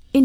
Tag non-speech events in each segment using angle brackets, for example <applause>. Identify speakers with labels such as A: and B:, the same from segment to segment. A: verscheen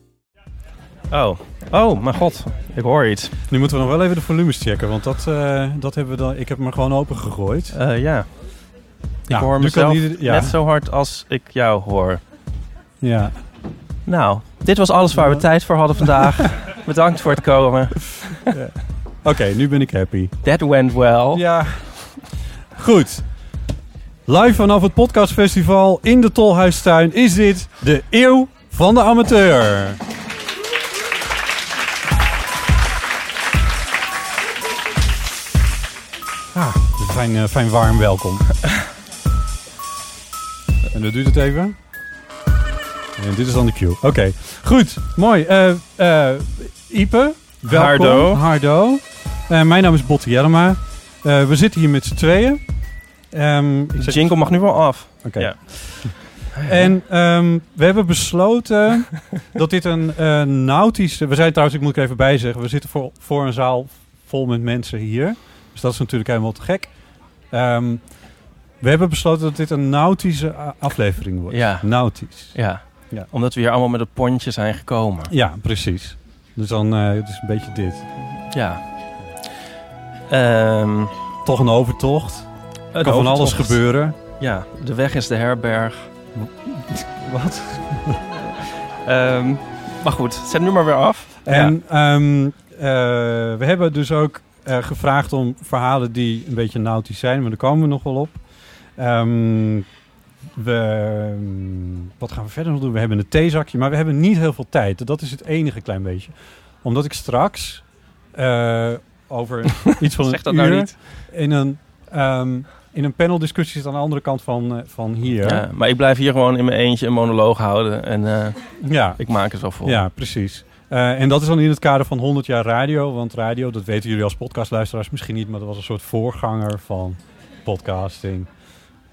B: Oh. Oh, mijn god. Ik hoor iets.
C: Nu moeten we nog wel even de volumes checken, want dat, eh, dat hebben we dan, ik heb hem er gewoon open gegooid.
B: Eh, ja. Ik
C: Ja,
B: hoor
C: nu kan
B: mezelf
C: ieder- ja.
B: net zo hard als ik jou hoor.
C: Ja.
B: Nou, dit was alles waar we tijd voor hadden
C: <laughs>
B: vandaag. Bedankt voor het komen.
C: Oké, nu ben ik happy.
B: That went well.
C: Ja. Goed. Live vanaf het podcastfestival in de Tolhuistuin is dit de Eeuw van de Amateur. Ah, fijn, eh, fijn warm welkom. En dat duurt het even. En dit is dan de cue. Oké, goed. Mooi. Eh, eh, Ipe, welkom.
B: Hardo.
C: Hardo. Eh, mijn naam is Botte Jellema. Eh, we zitten hier met z'n tweeën. Ehm, ik
B: De
C: zeg-
B: jingle mag nu wel af.
C: Oké.
B: Ja.
C: En ehm, we hebben besloten dat dit een eh, nautische... We zijn trouwens, ik moet er even bij zeggen, we zitten voor, voor een zaal vol met mensen hier. Dus dat is natuurlijk helemaal te gek. Ehm, we hebben besloten dat dit een nautische a- aflevering wordt.
B: Ja.
C: Nautisch.
B: Ja.
C: Ja.
B: Omdat we hier allemaal met het pontje zijn gekomen.
C: Ja, precies. Dus dan eh, het is een beetje dit.
B: Ja. Ehm,
C: Toch een overtocht. Er
B: het
C: kan van alles
B: overtocht.
C: gebeuren.
B: Ja, de weg is de herberg.
C: <laughs> Wat?
B: Ehm, maar goed, zet nu maar weer af. Ja.
C: En ehm, eh, we hebben dus ook eh, gevraagd om verhalen die een beetje nautisch zijn, maar daar komen we nog wel op. Ehm, we, ehm, wat gaan we verder nog doen? We hebben een theezakje, maar we hebben niet heel veel tijd. Dat is het enige klein beetje. Omdat ik straks eh, over
B: <laughs>
C: iets van
B: Zeg dat
C: een
B: nou
C: uur
B: niet.
C: in een, ehm, in een paneldiscussie zit aan de andere kant van, eh, van hier.
B: Ja, maar ik blijf hier gewoon in mijn eentje een monoloog houden. En eh,
C: ja.
B: ik maak het wel vol.
C: Ja, precies. Eh, en dat is dan in het kader van 100 jaar radio. Want radio, dat weten jullie als podcastluisteraars misschien niet, maar dat was een soort voorganger van podcasting.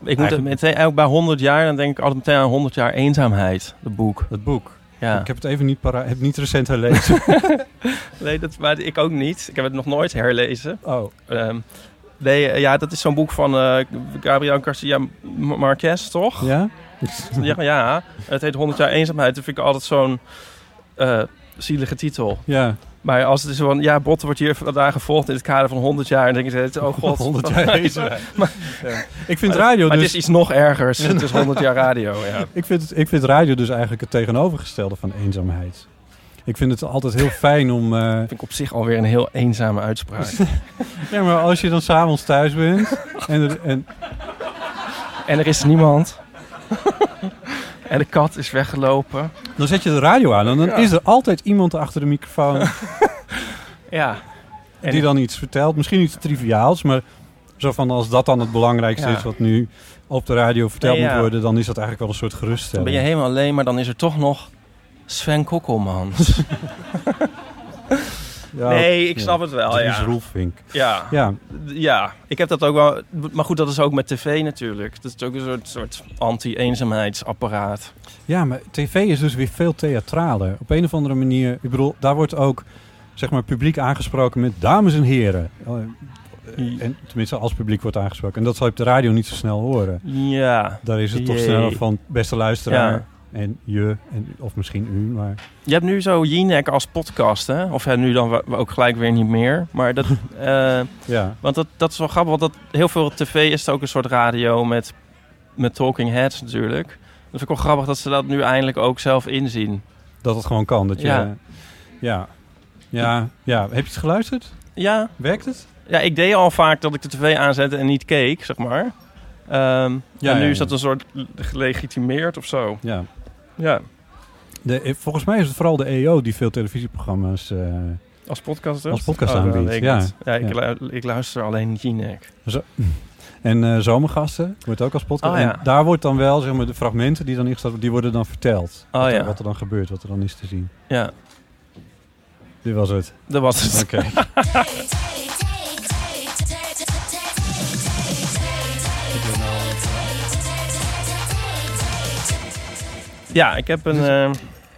B: Ik moet het
C: Eigenlijk-
B: meteen, eigenlijk bij 100 jaar, dan denk ik altijd meteen aan 100 jaar eenzaamheid, het boek.
C: Het boek.
B: Ja.
C: Ik heb het even niet, para- heb niet recent
B: <laughs>
C: gelezen.
B: Nee, dat, maar ik ook niet. Ik heb het nog nooit herlezen.
C: oh,
B: Ehm, nee, eh, ja, dat is zo'n boek van eh, Gabriel Garcia Marquez, toch?
C: ja?
B: Ja, ja. het heet 100 jaar eenzaamheid. Dat vind ik altijd zo'n eh, zielige titel.
C: ja,
B: Maar als het is van, ja, Botten wordt hier vandaag gevolgd in het kader van 100 jaar. Dan denk ik, steeds, oh
C: <laughs>
B: god. <laughs>
C: 100 jaar eenzaamheid. Ja. Ik vind radio
B: Maar het
C: dus...
B: is iets nog ergers. <laughs> Het is 100 jaar radio, <laughs> ja.
C: Ik vind, ik vind radio dus eigenlijk het tegenovergestelde van eenzaamheid. Ik vind het altijd heel fijn om... eh,
B: vind ik op zich alweer een heel eenzame uitspraak. <laughs>
C: ja, maar als je dan s'avonds thuis bent en, er- en,
B: En er is niemand. <laughs> en de kat is weggelopen.
C: dan zet je de radio aan en dan is er altijd iemand achter de microfoon
B: Ja. En
C: die dan iets vertelt. Misschien iets triviaals, maar zo van als dat dan het belangrijkste
B: Ja.
C: is wat nu op de radio verteld
B: Nee, ja.
C: moet worden, dan is dat eigenlijk wel een soort
B: dan ben je
C: geruststelling.
B: helemaal alleen, maar dan is er toch nog Sven <laughs> Kokkelmans. <laughs>
C: Ja,
B: nee, ik
C: ja.
B: snap het wel,
C: Dries
B: ja.
C: Roelvink.
B: ja.
C: Ja,
B: Ja, ik heb dat ook wel. Maar goed, dat is ook met tv natuurlijk. Dat is ook een soort, soort anti-eenzaamheidsapparaat.
C: ja, maar tv is dus weer veel theatraler. Op een of andere manier, ik bedoel, daar wordt ook zeg maar publiek aangesproken met dames en heren. Eh, En tenminste, als publiek wordt aangesproken. En dat zal je op de radio niet zo snel horen.
B: Ja.
C: Daar is het toch
B: Jee.
C: sneller van, beste luisteraar,
B: Ja.
C: en je, en, of misschien u, maar...
B: Je hebt nu zo Jinek als podcast, hè? Of ja, nu dan wa- ook gelijk weer niet meer. Maar dat, <laughs> eh,
C: Ja,
B: want dat, dat is wel grappig, want dat, heel veel tv is het ook een soort radio met, met talking heads natuurlijk. Dat vind ik wel grappig dat ze dat nu eindelijk ook zelf inzien.
C: dat het gewoon kan. Dat je,
B: Ja.
C: ja. ja. Ja, Heb je het geluisterd?
B: Ja,
C: Werkt het?
B: ja, ik deed al vaak dat ik de tv aanzette en niet keek, zeg maar. Ehm,
C: Ja,
B: en nu
C: ja,
B: is
C: ja.
B: dat een soort gelegitimeerd of zo.
C: Ja.
B: Ja,
C: De, eh, volgens mij is het vooral de EO die veel televisieprogramma's... eh,
B: als podcaster. Oh,
C: Als podcast aanbiedt,
B: ik
C: ja.
B: het. ja, ik,
C: Ja.
B: lu- ik luister alleen Jinek.
C: En eh, zomergasten wordt ook als podcast.
B: Oh, ja.
C: En daar wordt dan wel, zeg maar, de fragmenten die dan ingesteld worden, die worden dan verteld.
B: Oh,
C: wat, er,
B: ja.
C: wat er dan gebeurt, wat er dan is te zien.
B: Ja,
C: Dit was
B: <laughs>
C: het.
B: dat was het.
C: Oké.
B: Ja, ik heb een... eh,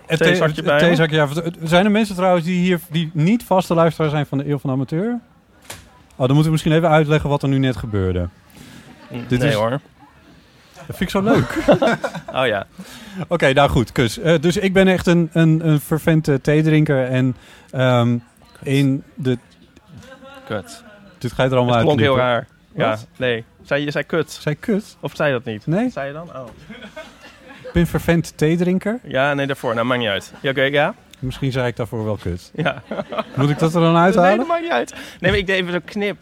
C: Het
B: theezakje bij me.
C: theezakje, ja. Het- het- Zijn er mensen trouwens die hier die niet vaste luisteraar zijn van de Eeuw van de Amateur? Oh, dan moeten we misschien even uitleggen wat er nu net gebeurde.
B: Dit nee
C: is-
B: hoor.
C: Dat vind ik zo leuk.
B: Oh ja.
C: Oké, nou goed, kus. Eh, dus ik ben echt een, een, een fervent eh, theedrinker. En ehm, in de...
B: Kut.
C: Dit ga je er
B: Het
C: allemaal uit.
B: klonk heel raar. Ja,
C: Wat?
B: nee. Zei, je zei kut.
C: Zij kut?
B: Of zei dat niet?
C: Nee,
B: Zei je dan? Oh.
C: ik ben fervent theedrinker.
B: Ja, nee, daarvoor. Nou, maakt niet uit. Ja, oké, ja?
C: Misschien zei ik daarvoor wel kut.
B: Ja.
C: Moet ik dat er dan
B: Nee, dat
C: uithalen?
B: maakt niet uit. Nee, maar ik deed even zo'n knip.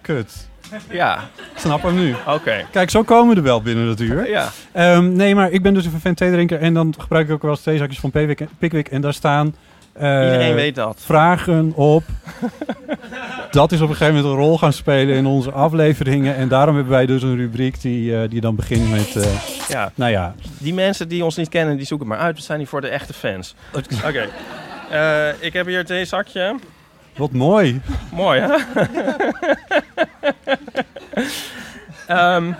C: Kut.
B: Ja,
C: Ik snap hem nu.
B: oké.
C: Kijk, zo komen er wel binnen dat uur.
B: Ja.
C: Ehm, nee, maar ik ben dus een vervent theedrinker. En dan gebruik ik ook wel eens theezakjes van Pickwick. en- Pickwick en daar staan... eh,
B: Iedereen weet dat.
C: Vragen op. dat is op een gegeven moment een rol gaan spelen in onze afleveringen. En daarom hebben wij dus een rubriek die, eh, die dan begint met... eh,
B: Ja.
C: nou ja,
B: Die mensen die ons niet kennen, die zoeken maar uit. We zijn hier voor de echte fans. Oké. Eh, ik heb hier het theezakje.
C: wat mooi.
B: Mooi, hè? <laughs> Ehm,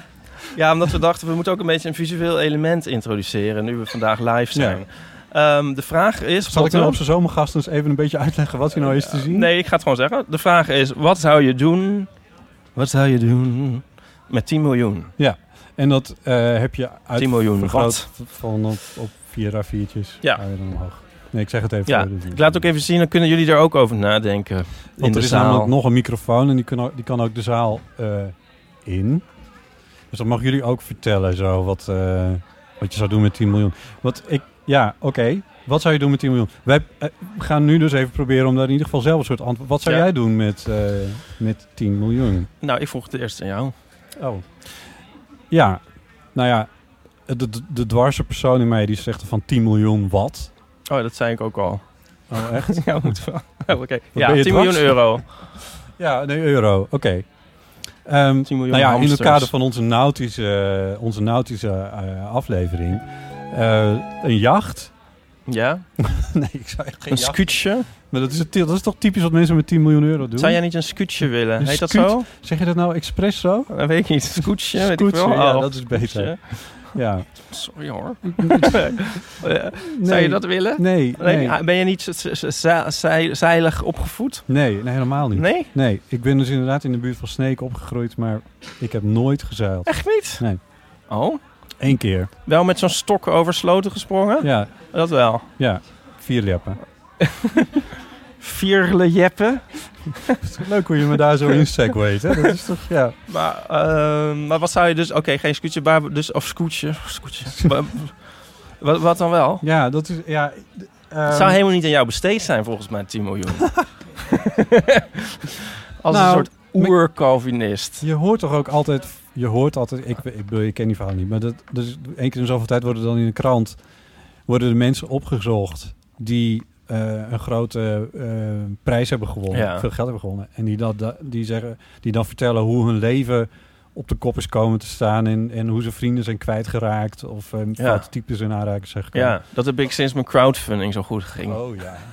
B: ja, omdat we dachten, we moeten ook een beetje een visueel element introduceren... nu we vandaag live zijn. Ehm, de vraag is...
C: Zal
B: wat
C: ik nou
B: we-
C: op zijn zomergast eens even een beetje uitleggen wat hier nou is te zien?
B: Nee, ik ga het gewoon zeggen. De vraag is, wat zou je doen... Wat zou je doen met 10 miljoen?
C: En dat eh, heb je uit
B: 10 miljoen,
C: vergroot
B: wat?
C: van op, op vier A4'tjes.
B: Ja.
C: Ga je dan omhoog. Nee, ik zeg het even.
B: Ja,
C: voor de-
B: ik laat ook even zien, dan kunnen jullie er ook over nadenken. in
C: Want
B: de
C: er is
B: zaal.
C: namelijk nog een microfoon en die kan ook, die kan ook de zaal eh, in. Dus dan mag jullie ook vertellen zo wat, eh, wat je zou doen met 10 miljoen. Wat ik, ja, oké. Wat zou je doen met 10 miljoen? Wij eh, gaan nu dus even proberen om daar in ieder geval zelf een soort antwoord... Wat zou
B: Ja.
C: jij doen met, eh, met 10 miljoen?
B: Nou, ik vroeg het eerst aan jou.
C: Oh. Ja, nou ja. De, de, de dwarse persoon in mij die zegt van 10 miljoen wat?
B: Oh, dat zei ik ook
C: <laughs>
B: al.
C: Oh, echt?
B: <laughs> Ja, moet wel. Oké. Ja,
C: ben je
B: 10 miljoen
C: dwars?
B: euro.
C: Ja, nee, euro. Oké. Ehm,
B: 10 miljoen
C: nou ja, in het
B: hamsters.
C: kader van onze nautische, eh, onze nautische eh, aflevering. eh, een
B: <laughs>
C: jacht?
B: Ja,
C: Nee, ik zou echt geen
B: een
C: jacht-
B: scootje.
C: Maar dat is, het, dat is toch typisch wat mensen met 10 miljoen euro doen?
B: Zou jij niet een scootje willen?
C: Een
B: Heet dat
C: scoot?
B: zo?
C: Zeg je dat nou expres zo?
B: Dat weet ik niet. Scootje, weet ik
C: Scootje,
B: wel.
C: ja,
B: Oh,
C: dat is beter.
B: scootje.
C: <laughs> Ja.
B: Sorry hoor. <laughs>
C: Nee,
B: Zou je dat willen?
C: Nee,
B: Nee.
C: nee.
B: ah, Ben je niet z- z- ze- ze- zeilig opgevoed?
C: Nee, nee, helemaal niet.
B: Nee?
C: Nee, ik ben dus inderdaad in de buurt van Sneek opgegroeid, maar ik heb nooit gezeild.
B: Echt niet?
C: Nee.
B: Oh?
C: Eén keer.
B: Wel met zo'n stok over sloten gesprongen?
C: Ja,
B: Dat wel.
C: ja. Vier
B: <laughs>
C: lippen.
B: Vierle jeppen.
C: Leuk hoe je me daar
B: <laughs>
C: zo in segwayt, hè? Dat is toch, ja.
B: Maar, ehm, maar wat zou je dus... Oké, geen scootje, maar dus, of scootje.
C: <laughs>
B: scootje. Maar- wat, wat dan wel?
C: Ja, dat is. Ja, ehm,
B: Het zou helemaal niet aan jou besteed zijn, volgens mij, 10 miljoen.
C: <laughs>
B: Als een
C: Nou,
B: soort oer-Calvinist.
C: je hoort toch ook altijd. Je hoort altijd. Ik, ik, bedoel, ik ken die verhaal niet. Maar dat, dus één keer in zoveel tijd worden dan in de krant. worden de mensen opgezocht. die eh, een grote eh, prijs hebben gewonnen.
B: Ja.
C: Veel geld hebben gewonnen. En die, dat, dat- die, zeggen, die dan vertellen hoe hun leven op de kop is komen te staan. en, en hoe ze vrienden zijn kwijtgeraakt. of eh
B: Ja.
C: foute types in aanraking zijn gekomen.
B: Ja, dat heb ik sinds mijn crowdfunding zo goed ging.
C: Oh ja. <laughs>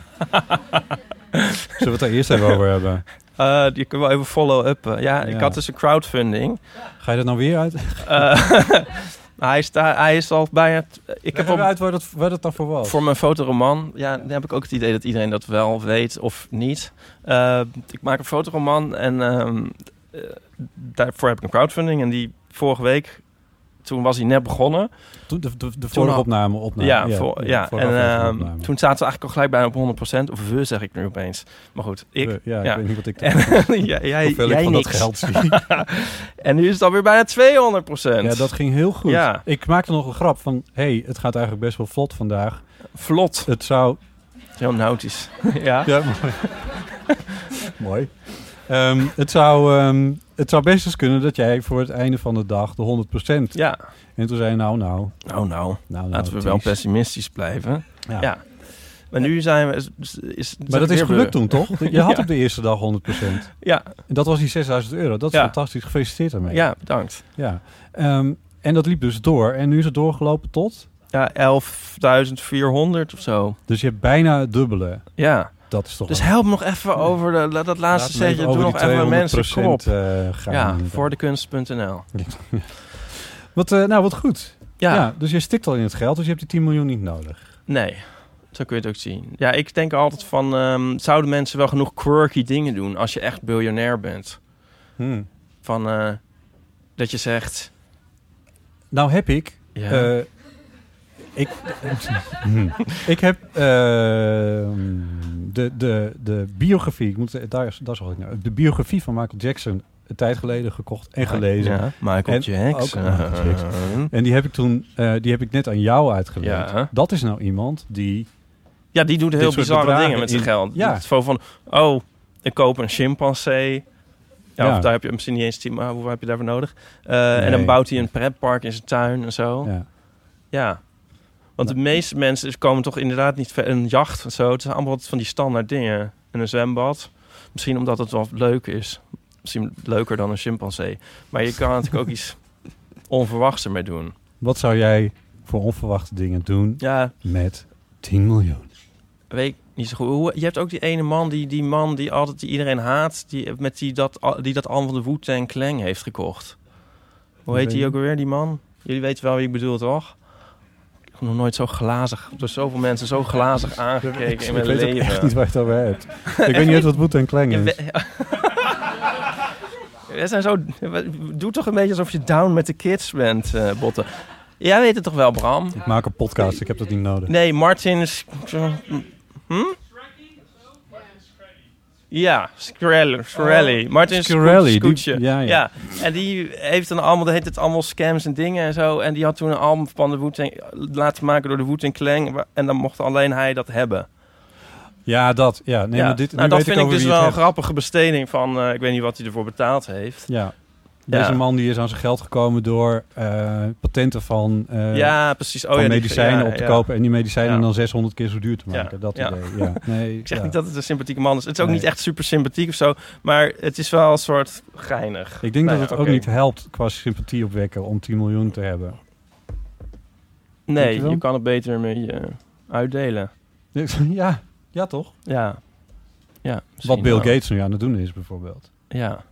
C: Zullen we het daar eerst even over hebben?
B: Eh, die kunnen we even follow-uppen. Ja, ik
C: Ja.
B: had dus een crowdfunding.
C: Ga je dat nou weer uit?
B: Eh, <laughs> maar hij, is daar, hij is al bijna... t- Ik heb
C: Leg even
B: op-
C: uit waar dat, waar dat dan voor was.
B: voor mijn fotoroman... Ja, dan heb ik ook het idee dat iedereen dat wel weet of niet. Eh, ik maak een fotoroman en ehm, eh, daarvoor heb ik een crowdfunding. En die vorige week toen was hij net begonnen.
C: Toen de, de, de vorige
B: al-
C: opname. opname
B: ja, voor, ja.
C: vorige
B: en
C: aflevering
B: ehm,
C: opname.
B: toen zaten ze eigenlijk al gelijk bijna op 100%. Of we, zeg ik nu opeens. Maar goed, ik.
C: We- Eh, ja,
B: ja.
C: ik weet niet wat
B: <laughs>
C: ik...
B: En, ja, jij
C: hoeveel
B: jij
C: ik van
B: niks.
C: dat
B: <laughs>
C: geld zie.
B: en nu is het alweer bijna 200%.
C: ja, dat ging heel goed.
B: Ja.
C: Ik maakte nog een grap van... hey, het gaat eigenlijk best wel vlot vandaag.
B: Vlot.
C: Het zou...
B: Heel nautisch. <laughs> ja.
C: Ja, <laughs> mooi. mooi. Ehm, het, zou, ehm, het zou best eens kunnen dat jij voor het einde van de dag de 100%...
B: Ja.
C: En toen zei je, nou, nou...
B: Nou, nou. Laten
C: nou nou,
B: we wel
C: Ties.
B: pessimistisch blijven.
C: Ja.
B: Ja. Maar nu zijn we... Is, is- is,
C: Maar dat is
B: weer
C: gelukt
B: beu-
C: toen, toch? Je had
B: <laughs> Ja.
C: op de eerste dag 100%.
B: Ja,
C: En dat was die 6000 euro. Dat is
B: Ja.
C: fantastisch. Gefeliciteerd daarmee.
B: ja, bedankt.
C: Ja. Ehm, en dat liep dus door. En nu is het doorgelopen tot...
B: Ja, 11.400 of zo.
C: Dus je hebt bijna het dubbele.
B: Ja.
C: Dat is toch...
B: Dus
C: een-
B: help me nog even over de, la- dat
C: Laat
B: laatste
C: me even
B: setje. Doe
C: over
B: nog
C: die
B: even mensen
C: 200%
B: kom op.
C: eh, gaan.
B: Ja,
C: inderdaad.
B: voor de kunst.nl.
C: Wat, eh, nou, wat goed. Ja.
B: Ja,
C: dus je stikt al in het geld, dus je hebt die 10 miljoen niet nodig.
B: nee. Zo kun je het ook zien. Ja, ik denk altijd van... ehm, zouden mensen wel genoeg quirky dingen doen als je echt biljonair bent? Van eh, dat je zegt...
C: Nou heb ik...
B: Ja,
C: eh, ik, Hmm. ik heb eh, de, de, de biografie, ik moet, daar, daar zal ik nou, de biografie van Michael Jackson een tijd geleden gekocht en gelezen.
B: Ja, Michael
C: En
B: Jackson.
C: ook Michael En die heb ik toen, eh, die heb ik net aan jou uitgelegd.
B: Ja.
C: Dat is nou iemand die.
B: Ja, die doet
C: Dit
B: heel
C: soort
B: bizarre
C: bedragen
B: dingen met zijn
C: in-
B: geld.
C: Ja.
B: Ja. Het is van, oh, ik koop een chimpansee. Ja,
C: Ja.
B: Of daar heb je misschien niet eens team, maar hoeveel heb je daarvoor nodig? Eh,
C: Nee.
B: En dan bouwt hij een pretpark in zijn tuin en zo. Ja.
C: Ja.
B: Want de meeste mensen is- komen toch inderdaad niet ver. Een jacht en zo. Het zijn allemaal wat van die standaard dingen. En een zwembad. Misschien omdat het wel leuk is. Misschien leuker dan een chimpansee. Maar je kan er
C: <laughs>
B: natuurlijk ook iets onverwachts ermee doen.
C: Wat zou jij voor onverwachte dingen doen
B: Ja,
C: met 10 miljoen?
B: weet ik niet zo goed. Hoe- Je hebt ook die ene man, die, die man die altijd die iedereen haat, die, met die dat, al- die dat album van de Woet en Klang heeft gekocht. Hoe heet
C: Weet
B: die
C: ik.
B: ook alweer, die man? Jullie weten wel wie ik bedoel, toch? Ik heb nog nooit zo glazig, door zoveel mensen zo glazig
C: <laughs> Dus ik
B: aangekeken in
C: weet
B: mijn
C: ook echt niet
B: leven.
C: waar je het over hebt. ik weet niet eens wat Boet en
B: <laughs>
C: Kleng
B: Je
C: is.
B: we- We zijn zo, doe toch een beetje alsof je down met de kids bent, eh Botten. Jij weet het toch wel, Bram?
C: Ik maak een podcast, ik heb dat niet nodig.
B: Nee, Martin is. Hm? Ja, Screlly. Screlly. Martin
C: Shkreli, Oh. die-
B: Screlly. Scootje.
C: ja,
B: Ja,
C: ja.
B: en die heeft dan allemaal, dat heet het allemaal scams en dingen en zo. En die had toen een album van de Woet laten maken door de Woet en Klang. En dan mocht alleen hij dat hebben.
C: Ja, dat. Ja, nee,
B: ja.
C: maar dit,
B: nou,
C: nu
B: dat
C: weet
B: vind
C: ik
B: ik
C: over
B: dus
C: wie
B: wel
C: het
B: een
C: hebt.
B: grappige besteding van, eh, ik weet niet wat hij ervoor betaald heeft.
C: Ja. Deze
B: Ja.
C: man die is aan zijn geld gekomen door eh, patenten van, eh,
B: ja, precies. Oh,
C: van
B: ja, die-
C: medicijnen
B: ja,
C: op te
B: ja.
C: kopen. En die medicijnen
B: Ja.
C: dan 600 keer zo duur te
B: Ja,
C: maken. Dat
B: ja.
C: idee. Ja. Nee,
B: <laughs> Ik zeg
C: ja.
B: niet dat het een sympathieke man is. Het is ook
C: Nee.
B: niet echt super sympathiek of zo. Maar het is wel een soort geinig.
C: Ik denk
B: Nou
C: dat het
B: ja,
C: ook
B: oké.
C: niet helpt qua sympathie opwekken om 10 miljoen te hebben.
B: Nee,
C: Dankjewel.
B: je kan het beter met je uitdelen.
C: Ja, <laughs> ja toch?
B: Ja. ja misschien
C: Wat Bill
B: wel.
C: Gates nu aan het doen is bijvoorbeeld.
B: Ja.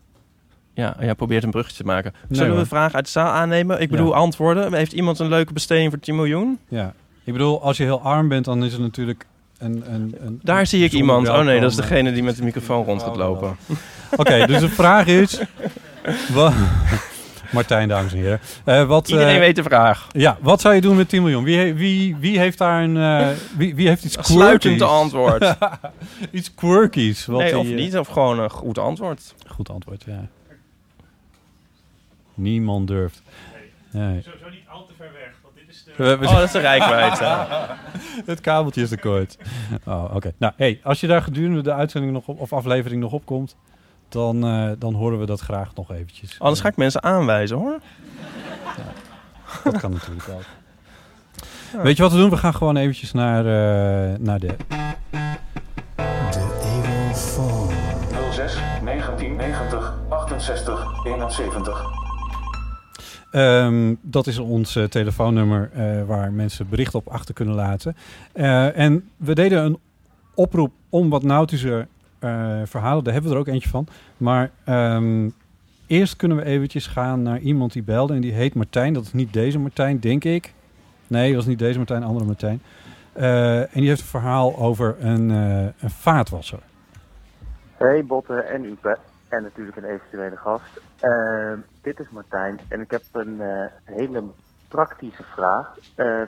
B: Ja, ja, probeert een brugje te maken.
C: Nee,
B: Zullen we
C: hoor.
B: een vraag uit de zaal aannemen? Ik
C: Ja.
B: bedoel, antwoorden. Heeft iemand een leuke besteding voor 10 miljoen?
C: Ja. Ik bedoel, als je heel arm bent, dan is het natuurlijk een... een, een
B: Daar zie ik
C: bijzonder
B: iemand. Oh nee, dat is
C: welkom.
B: degene die met de microfoon rond gaat
C: Microfoon
B: lopen.
C: <laughs> Oké, dus de vraag is... wa- <laughs> Martijn, dames en heren. Eh, wat, eh,
B: Iedereen weet de vraag.
C: Ja, wat zou je doen met 10 miljoen? Wie, he- wie, wie heeft daar een... eh, wie, wie heeft iets quirkies?
B: Sluitend
C: <laughs>
B: antwoord.
C: iets quirkies. Wat
B: nee,
C: die,
B: of
C: eh,
B: niet. Of gewoon een goed antwoord.
C: Goed antwoord, ja. Niemand durft. Nee.
D: Sowieso niet al te ver weg, want dit is de...
C: We- we-
B: Oh, dat is de rijkwijde.
C: het kabeltje is te kort. Oh, oké. Nou, hey, als je daar gedurende de uitzending nog op, of aflevering nog op komt, dan, eh, dan horen we dat graag nog eventjes.
B: <laughs> Anders ga ik mensen aanwijzen, hoor.
C: Dat kan natuurlijk ook. Weet je wat we doen? We gaan gewoon eventjes naar, eh, naar de...
E: 06 1990 68 71.
C: Ehm, dat is ons eh, telefoonnummer eh, waar mensen berichten op achter kunnen laten. Eh, en we deden een oproep om wat nautische eh, verhalen. Daar hebben we er ook eentje van. Maar ehm, eerst kunnen we eventjes gaan naar iemand die belde. En die heet Martijn. Dat is niet deze Martijn, denk ik. Nee, dat is niet deze Martijn, andere Martijn. Eh, en die heeft een verhaal over een, eh, een vaatwasser.
F: Hey Botten en uw, En natuurlijk een eventuele gast. Eh, dit is Martijn en ik heb een eh, hele praktische vraag. Eh,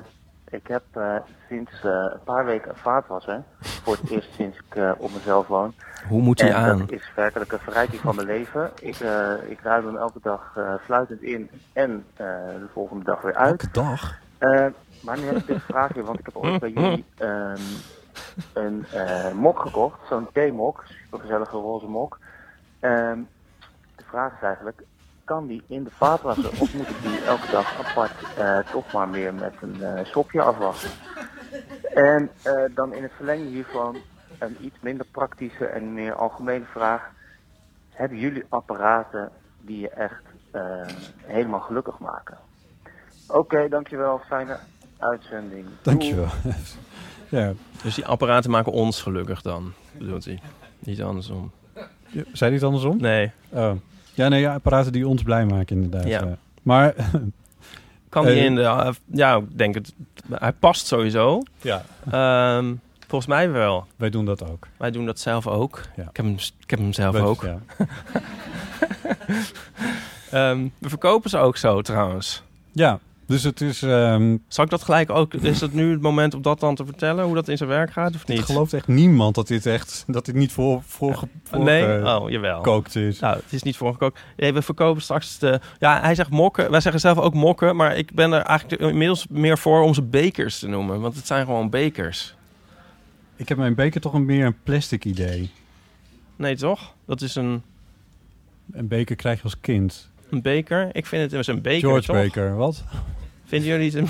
F: ik heb eh, sinds eh, een paar weken een vaatwasser. Voor het eerst sinds ik eh, op mezelf woon.
B: Hoe moet die
F: en
B: aan?
F: Dat is werkelijk een verrijking van mijn leven. Ik, eh, ik ruim hem elke dag eh, fluitend in en eh, de volgende dag weer uit.
G: Elke dag?
F: Eh, maar nu heb ik dit vraagje, want ik heb ooit bij jullie ehm, een eh, mok gekocht. Zo'n theemok, supergezellige roze mok. Ehm, de vraag is eigenlijk, kan die in de vaatwasser of moet ik die elke dag apart eh, toch maar weer met een eh, sopje afwassen? En eh, dan in het verlengde hiervan een iets minder praktische en meer algemene vraag. Hebben jullie apparaten die je echt eh, helemaal gelukkig maken? Oké, dankjewel. Fijne uitzending.
C: Dankjewel. <laughs> ja.
B: Dus die apparaten maken ons gelukkig dan, bedoelt hij. Niet andersom.
C: Ja, Zei hij het andersom?
B: Nee.
C: Oh. Ja, nee, ja, apparaten die ons blij maken inderdaad.
B: Ja.
C: ja. Maar... <laughs>
B: Kan die
C: Eh,
B: in de... Ja, ik denk het. Hij past sowieso.
C: Ja.
B: Ehm, volgens mij wel.
C: Wij doen dat ook.
B: Wij doen dat zelf ook.
C: Ja.
B: Ik, heb hem, ik heb hem zelf
C: Wij-
B: ook.
C: ja.
B: Ehm, we verkopen ze ook zo trouwens.
C: Ja, dus het is... ehm,
B: Zal ik dat gelijk ook... Is dat nu het moment om dat dan te vertellen? Hoe dat in zijn werk gaat of niet?
C: Het gelooft echt niemand dat dit echt... Dat dit niet voor, voor, voor
B: nee?
C: eh,
B: oh, jawel.
C: gekookt is.
B: Nou, het is niet voorgekookt. Nee, we verkopen straks de... Ja, hij zegt mokken. Wij zeggen zelf ook mokken. Maar ik ben er eigenlijk inmiddels meer voor om ze bekers te noemen. Want het zijn gewoon bekers.
C: Ik heb mijn beker toch een meer een plastic idee.
B: Nee, toch? Dat is een,
C: Een beker krijg je als kind.
B: een beker. Ik vind het immers een beker,
C: George
B: toch?
C: Beker, wat?
B: Vinden jullie het <laughs> een...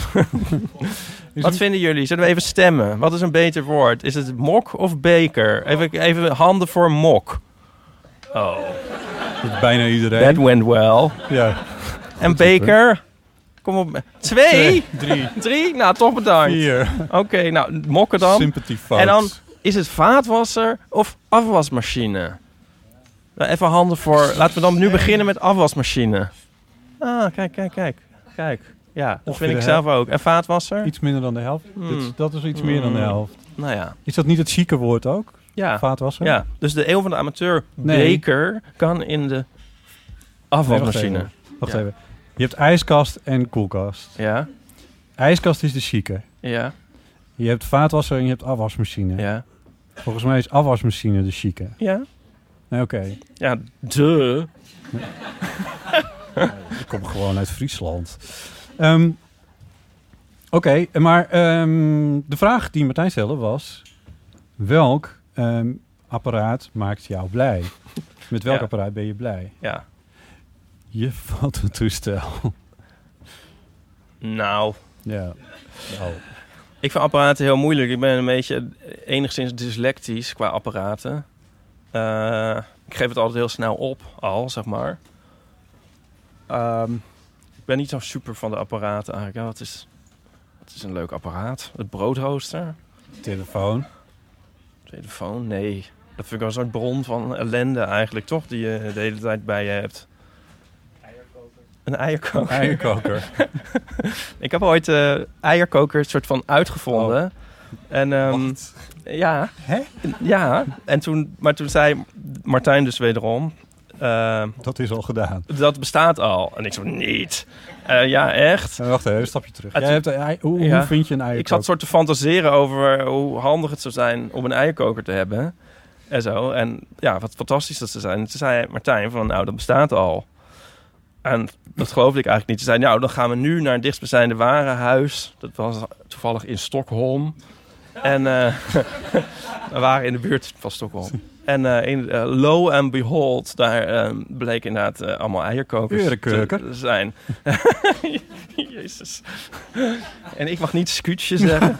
C: Is
B: Wat
C: een-
B: vinden jullie? Zullen we even stemmen? Wat is een beter woord? Is het mok of beker? Even, even handen voor mok. Oh,
C: Dat is bijna
B: that
C: iedereen.
B: went well.
C: Ja,
B: En beker? Kom op. Twee? <laughs>
C: drie,
B: Drie? Nou, toch bedankt.
C: vier.
B: Oké, nou, mokken dan.
C: Sympathy fout.
B: En dan, is het vaatwasser of afwasmachine? Nou, even handen voor... Laten we dan nu beginnen met afwasmachine. Ah, kijk, kijk, kijk. Kijk. Ja, dat
C: Ongeveer
B: vind ik
C: de
B: zelf ook. En vaatwasser?
C: Iets minder dan de helft.
B: Hmm.
C: Dat, is- dat is iets meer dan de
B: Hmm.
C: helft.
B: Nou ja.
C: Is dat niet het chique woord ook?
B: Ja.
C: Vaatwasser?
B: Ja, dus de eeuw van de amateur
C: Nee.
B: beker kan in de
C: Nee, wacht
B: afwasmachine.
C: even. Wacht
B: Ja.
C: even. Je hebt ijskast en koelkast.
B: ja,
C: Ijskast is de chique.
B: ja,
C: Je hebt vaatwasser en je hebt afwasmachine.
B: ja,
C: Volgens mij is afwasmachine de chique.
B: ja.
C: Nee, oké.
B: Ja, de.
C: Ik kom gewoon uit Friesland. Ehm, Oké, maar ehm, de vraag die Martijn stelde was... Welk ehm, apparaat maakt jou blij? Met welk
B: Ja.
C: apparaat ben je blij?
B: Ja,
C: Je fototoestel.
B: nou.
C: ja. Nou,
B: Ik vind apparaten heel moeilijk. Ik ben een beetje enigszins dyslectisch qua apparaten. Eh, ik geef het altijd heel snel op, al, zeg maar. Ehm, ik ben niet zo super van de apparaten eigenlijk. Ja, wat, is, wat is een leuk apparaat? Het broodrooster.
C: telefoon.
B: Telefoon? Nee. Dat vind ik wel zo'n bron van ellende eigenlijk, toch? Die je de hele tijd bij je hebt. Een eierkoker.
C: Eierkoker.
B: Ik heb ooit eh eierkoker soort van uitgevonden. En ehm, ja.
C: Hè?
B: Ja. En toen, maar toen zei Martijn dus wederom... eh,
C: Dat is al gedaan.
B: dat bestaat al. En ik zo, niet. Eh, ja, echt.
C: Eh, wacht even, een stapje terug.
B: Het-
C: Jij hebt een ei- hoe, hoe
B: Ja.
C: vind je een eierkoker?
B: Ik zat soort te fantaseren over hoe handig het zou zijn om een eierkoker te hebben. En zo. En ja, wat fantastisch dat ze zijn. En toen zei Martijn van, nou, dat bestaat al. En dat geloofde ik eigenlijk niet. Ze zei, nou, dan gaan we nu naar het dichtstbijzijnde warenhuis. Dat was toevallig in Stockholm. En eh, <laughs> we waren in de buurt van Stockholm. En eh, in, eh, lo and behold, daar eh, bleek inderdaad eh, allemaal eierkokers
C: Erekurker.
B: te zijn. <laughs> Jezus. En ik mag niet scootje
C: <laughs>
B: zeggen.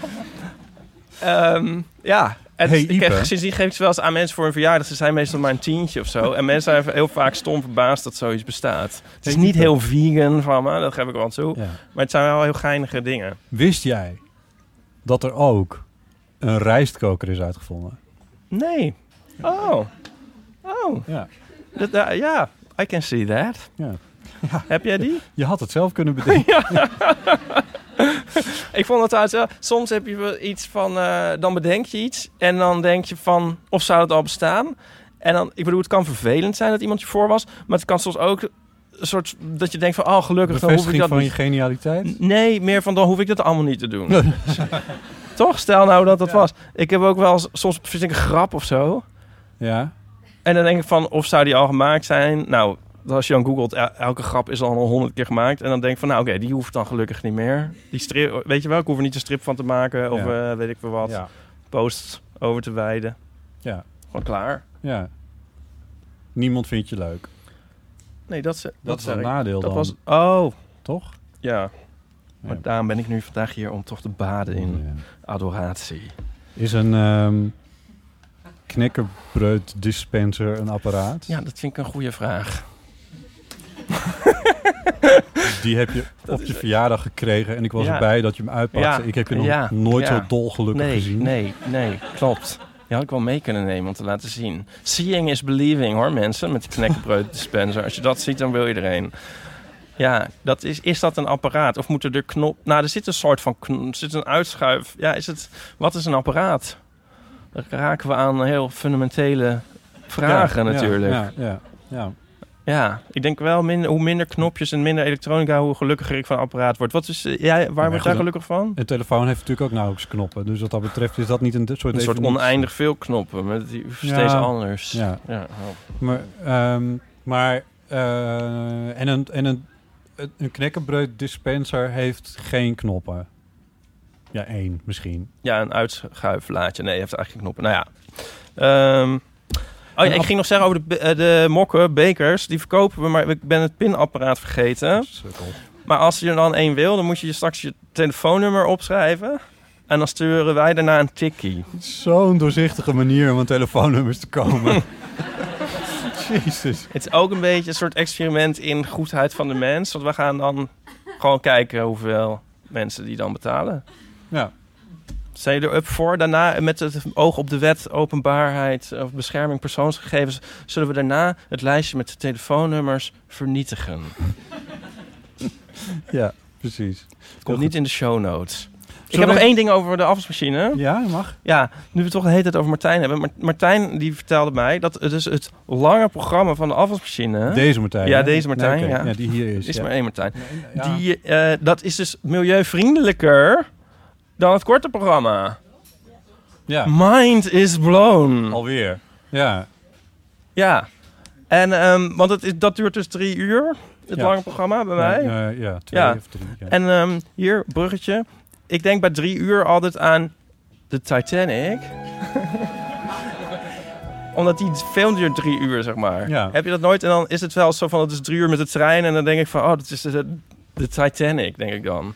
B: Ehm, ja. En
C: Hey,
B: ik
C: Ipe.
B: heb, sindsdien geef ik ze wel eens aan mensen voor een verjaardag. Ze zijn meestal maar een tientje of zo. En mensen zijn heel vaak stom verbaasd dat zoiets bestaat. Het is
C: Hey,
B: niet
C: Ipe.
B: heel vegan van me, dat geef ik wel toe.
C: Ja.
B: Maar het zijn wel heel geinige dingen.
C: Wist jij dat er ook een rijstkoker is uitgevonden?
B: Nee. Oh. Oh.
C: Ja.
B: Dat, ja, ja. I can see that.
C: Ja.
B: Heb jij die?
C: Je had het zelf
B: <laughs>
C: kunnen bedenken.
B: Ik vond het trouwens wel... Soms heb je wel iets van... eh, dan bedenk je iets en dan denk je van... Of zou het al bestaan? En dan, ik bedoel, het kan vervelend zijn dat iemand je voor was. Maar het kan soms ook een soort dat je denkt van, oh gelukkig, dan hoef ik
C: Bevestiging
B: dat
C: van je
B: niet.
C: genialiteit.
B: Nee, meer van dan hoef ik dat allemaal niet te doen.
C: <laughs>
B: Toch? Stel nou dat dat was. Ik heb ook wel eens, soms verzin ik een grap of zo.
C: Ja.
B: En dan denk ik van, of zou die al gemaakt zijn? Nou, als je dan googelt, el- elke grap is al honderd keer gemaakt. En dan denk ik van, nou oké, die hoeft dan gelukkig niet meer. Die strip, weet je wel, ik hoef er niet een strip van te maken. Of
C: Ja.
B: eh, weet ik veel wat.
C: Ja.
B: Post over te wijden.
C: Ja.
B: Gewoon klaar.
C: ja. Niemand vindt je leuk.
B: Nee, dat, ze, dat,
C: Dat is
B: zei
C: een
B: ik.
C: nadeel
B: Dat
C: dan,
B: was, oh,
C: toch?
B: ja. Maar
C: Ja.
B: daarom ben ik nu vandaag hier om toch te baden in
C: Ja.
B: adoratie.
C: Is een ehm knekkenbreud dispenser een apparaat?
B: Ja, dat vind ik een goede vraag.
C: Die heb
B: <laughs>
C: je op je verjaardag gekregen en ik was
B: Ja.
C: erbij dat je hem uitpakte.
B: Ja.
C: Ik heb je nog
B: Ja.
C: nooit
B: Ja.
C: zo dolgelukkig
B: Nee,
C: gezien.
B: nee, nee, klopt. Die had ik wel mee kunnen nemen om te laten zien. Seeing is believing hoor mensen, met die knekkenbreud dispenser. Als je dat ziet, dan wil je erheen. Ja, dat is, is dat een apparaat? Of moeten er knop... Nou, er zit een soort van knop, er zit een uitschuif. Ja, is het... Wat is een apparaat? Dan raken we aan heel fundamentele vragen
C: Ja,
B: natuurlijk. Ja,
C: Ja, ja, ja.
B: ik denk wel minder, hoe minder knopjes en minder elektronica, hoe gelukkiger ik van een apparaat word. Wat is, eh, jij, waar word
C: goed,
B: jij
C: dan-
B: gelukkig van?
C: Een telefoon heeft natuurlijk ook nauwelijks knoppen. Dus wat dat betreft is dat niet een de- soort...
B: Een soort
C: definitie.
B: oneindig veel knoppen, maar die
C: Ja.
B: steeds anders.
C: Ja,
B: Ja, oh.
C: maar... ehm, maar eh, en een, en een, een knekkenbreud dispenser heeft geen knoppen. Ja, één misschien.
B: ja een uitschuiflaadje. Nee, je heeft eigenlijk knoppen. Nou ja. Ehm, oh ja, ik ging nog zeggen over de, be- eh, de mokken, bekers. Die verkopen we, maar ik ben het pinapparaat vergeten.
C: Sukkel.
B: Maar als je er dan één wil, dan moet je je straks je telefoonnummer opschrijven. En dan sturen wij daarna een tikkie.
C: Zo'n doorzichtige manier om aan telefoonnummers te
B: <laughs>
C: komen. Jezus.
B: Het is ook een beetje een soort experiment in goedheid van de mens. Want we gaan dan gewoon kijken hoeveel mensen die dan betalen.
C: Ja.
B: Zijn jullie er up voor? Daarna, met het oog op de wet, openbaarheid of bescherming persoonsgegevens, zullen we daarna het lijstje met de telefoonnummers vernietigen.
C: Ja, precies.
B: Het komt niet in de show notes. Ik
C: Zullen
B: heb nog
C: we-
B: één ding over de afwasmachine.
C: Ja, mag.
B: Ja, nu we het toch de hele tijd over Martijn hebben. Mar- Martijn die vertelde mij dat het, dus het lange programma van de afwasmachine.
C: Deze Martijn.
B: Ja,
C: hè?
B: deze Martijn,
C: oké.
B: ja.
C: die hier is.
B: is
C: ja.
B: maar één Martijn.
C: Ja.
B: Die, eh, dat is dus milieuvriendelijker dan het korte programma.
C: Ja,
B: Mind is blown.
C: alweer. Ja,
B: Ja. En, ehm, want het is, dat duurt dus drie uur, het
C: Ja.
B: lange programma bij mij.
C: Ja, eh, ja, twee
B: Ja.
C: of drie. ja.
B: En ehm, hier, bruggetje. Ik denk bij drie uur altijd aan de
C: <laughs>
B: Titanic. Omdat die film duurt drie uur, zeg maar.
C: Ja.
B: Heb je dat nooit? En dan is het wel zo van, het is drie uur met de trein. En dan denk ik van, oh, dat is de, de Titanic, denk ik dan.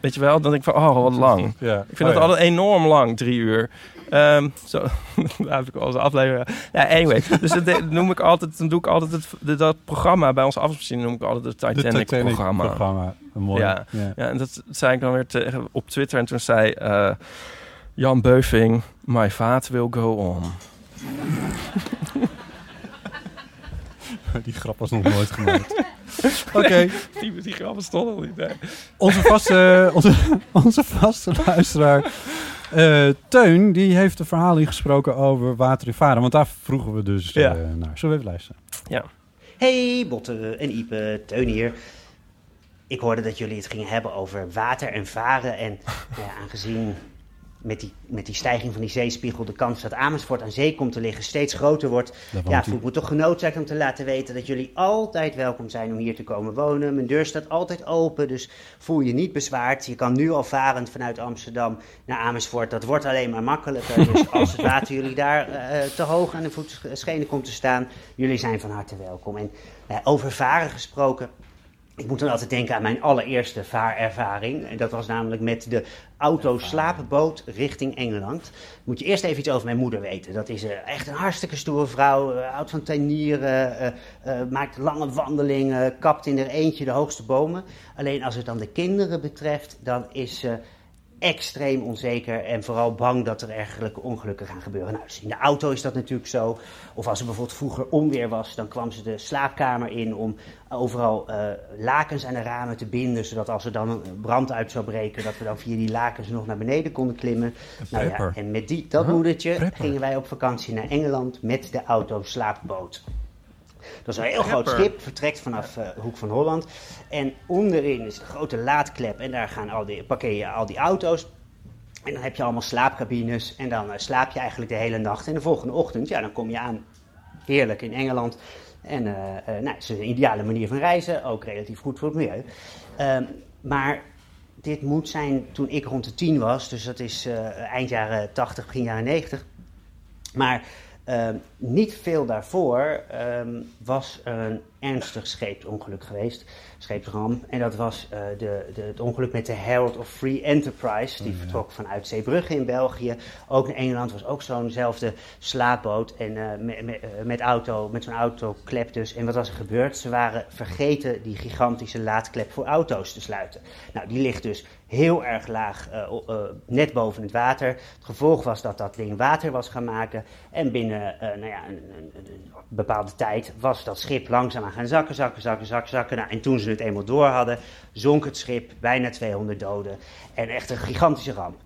B: Weet je wel? Dan denk ik van, oh, wat lang.
C: ja.
B: Ik vind dat altijd enorm lang, drie uur. Ehm, zo, <laughs> daar heb ik al eens een aflevering. Ja, anyway. Dus dat de- noem ik altijd, dan doe ik altijd het, de- dat programma bij ons afwasmachine noem ik altijd het Titanic-programma.
C: Een mooi.
B: Ja.
C: Ja.
B: Ja, en dat zei ik dan weer tegen- op Twitter. En toen zei eh, Jan Beuving, my vaat will go on.
C: <laughs> Die grap was nog nooit
B: <laughs>
C: gemaakt. Oké,
B: Die, die grappen stonden al niet. Nee.
C: onze,
B: <laughs>
C: vaste, onze, onze vaste luisteraar eh, Teun, die heeft een verhaal ingesproken over water in varen. Want daar vroegen we dus eh,
B: Ja.
C: naar. Zullen we even luisteren?
G: <laughs> Hey Botte en Ipe, Teun hier. Ik hoorde dat jullie het gingen hebben over water en varen. En nou ja, aangezien met die, met die stijging van die zeespiegel de kans dat Amersfoort aan zee komt te liggen steeds groter wordt.
C: Daar woont
G: Ja,
C: hij.
G: voel ik me toch genoodzaakt om te laten weten dat jullie altijd welkom zijn om hier te komen wonen. Mijn deur staat altijd open, dus voel je niet bezwaard. Je kan nu al varend vanuit Amsterdam naar Amersfoort. Dat wordt alleen maar makkelijker.
C: <laughs>
G: Dus als het water jullie daar eh, te hoog aan de voetschenen komt te staan, jullie zijn van harte welkom. En eh, over varen gesproken. Ik moet dan altijd denken aan mijn allereerste vaarervaring. En dat was namelijk met de autoslaapboot richting Engeland. Moet je eerst even iets over mijn moeder weten. Dat is eh, echt een hartstikke stoere vrouw. eh, houdt van tuinieren, eh, eh, maakt lange wandelingen, kapt in haar eentje de hoogste bomen. Alleen als het dan de kinderen betreft, dan is ze extreem onzeker en vooral bang dat er ergelijke ongelukken gaan gebeuren. Nou, dus in de auto is dat natuurlijk zo. Of als er bijvoorbeeld vroeger onweer was, dan kwam ze de slaapkamer in om overal eh, lakens aan de ramen te binden, zodat als er dan een brand uit zou breken, dat we dan via die lakens nog naar beneden konden klimmen. Nou ja,
C: prepper.
G: en met die, dat
C: Huh?
G: moedertje
C: Prepper.
G: gingen wij op vakantie naar Engeland met de auto slaapboot. Dat is een heel
H: Prepper.
G: groot schip, vertrekt vanaf eh, Hoek van Holland. En onderin is de grote laadklep en daar gaan al die, parkeer je al die auto's. En dan heb je allemaal slaapcabines en dan eh, slaap je eigenlijk de hele nacht. En de volgende ochtend, ja, dan kom je aan. Heerlijk in Engeland. En eh, eh, nou, het is een ideale manier van reizen, ook relatief goed voor het milieu. Ehm, maar dit moet zijn toen ik rond de tien was, dus dat is eh, eind jaren 80, begin jaren 90. Maar ehm, niet veel daarvoor ehm, was er een ernstig scheepsongeluk geweest, scheepsram. En dat was eh, de, de, het ongeluk met de Herald of Free Enterprise. Die vertrok vanuit Zeebrugge in België. Ook naar Engeland was ook zo'nzelfde slaapboot en, eh, me- me- eh, met, auto, met zo'n autoklep dus. En wat was er gebeurd? Ze waren vergeten die gigantische laadklep voor auto's te sluiten. Nou, die ligt dus heel erg laag, eh, o- eh, net boven het water. Het gevolg was dat dat ding water was gaan maken. En binnen eh, nou ja, een, een, een- een bepaalde tijd was dat schip langzaam aan gaan zakken, zakken, zakken, zakken, zakken. Nou, en toen ze het eenmaal door hadden, zonk het schip, bijna 200 doden. En echt een gigantische ramp.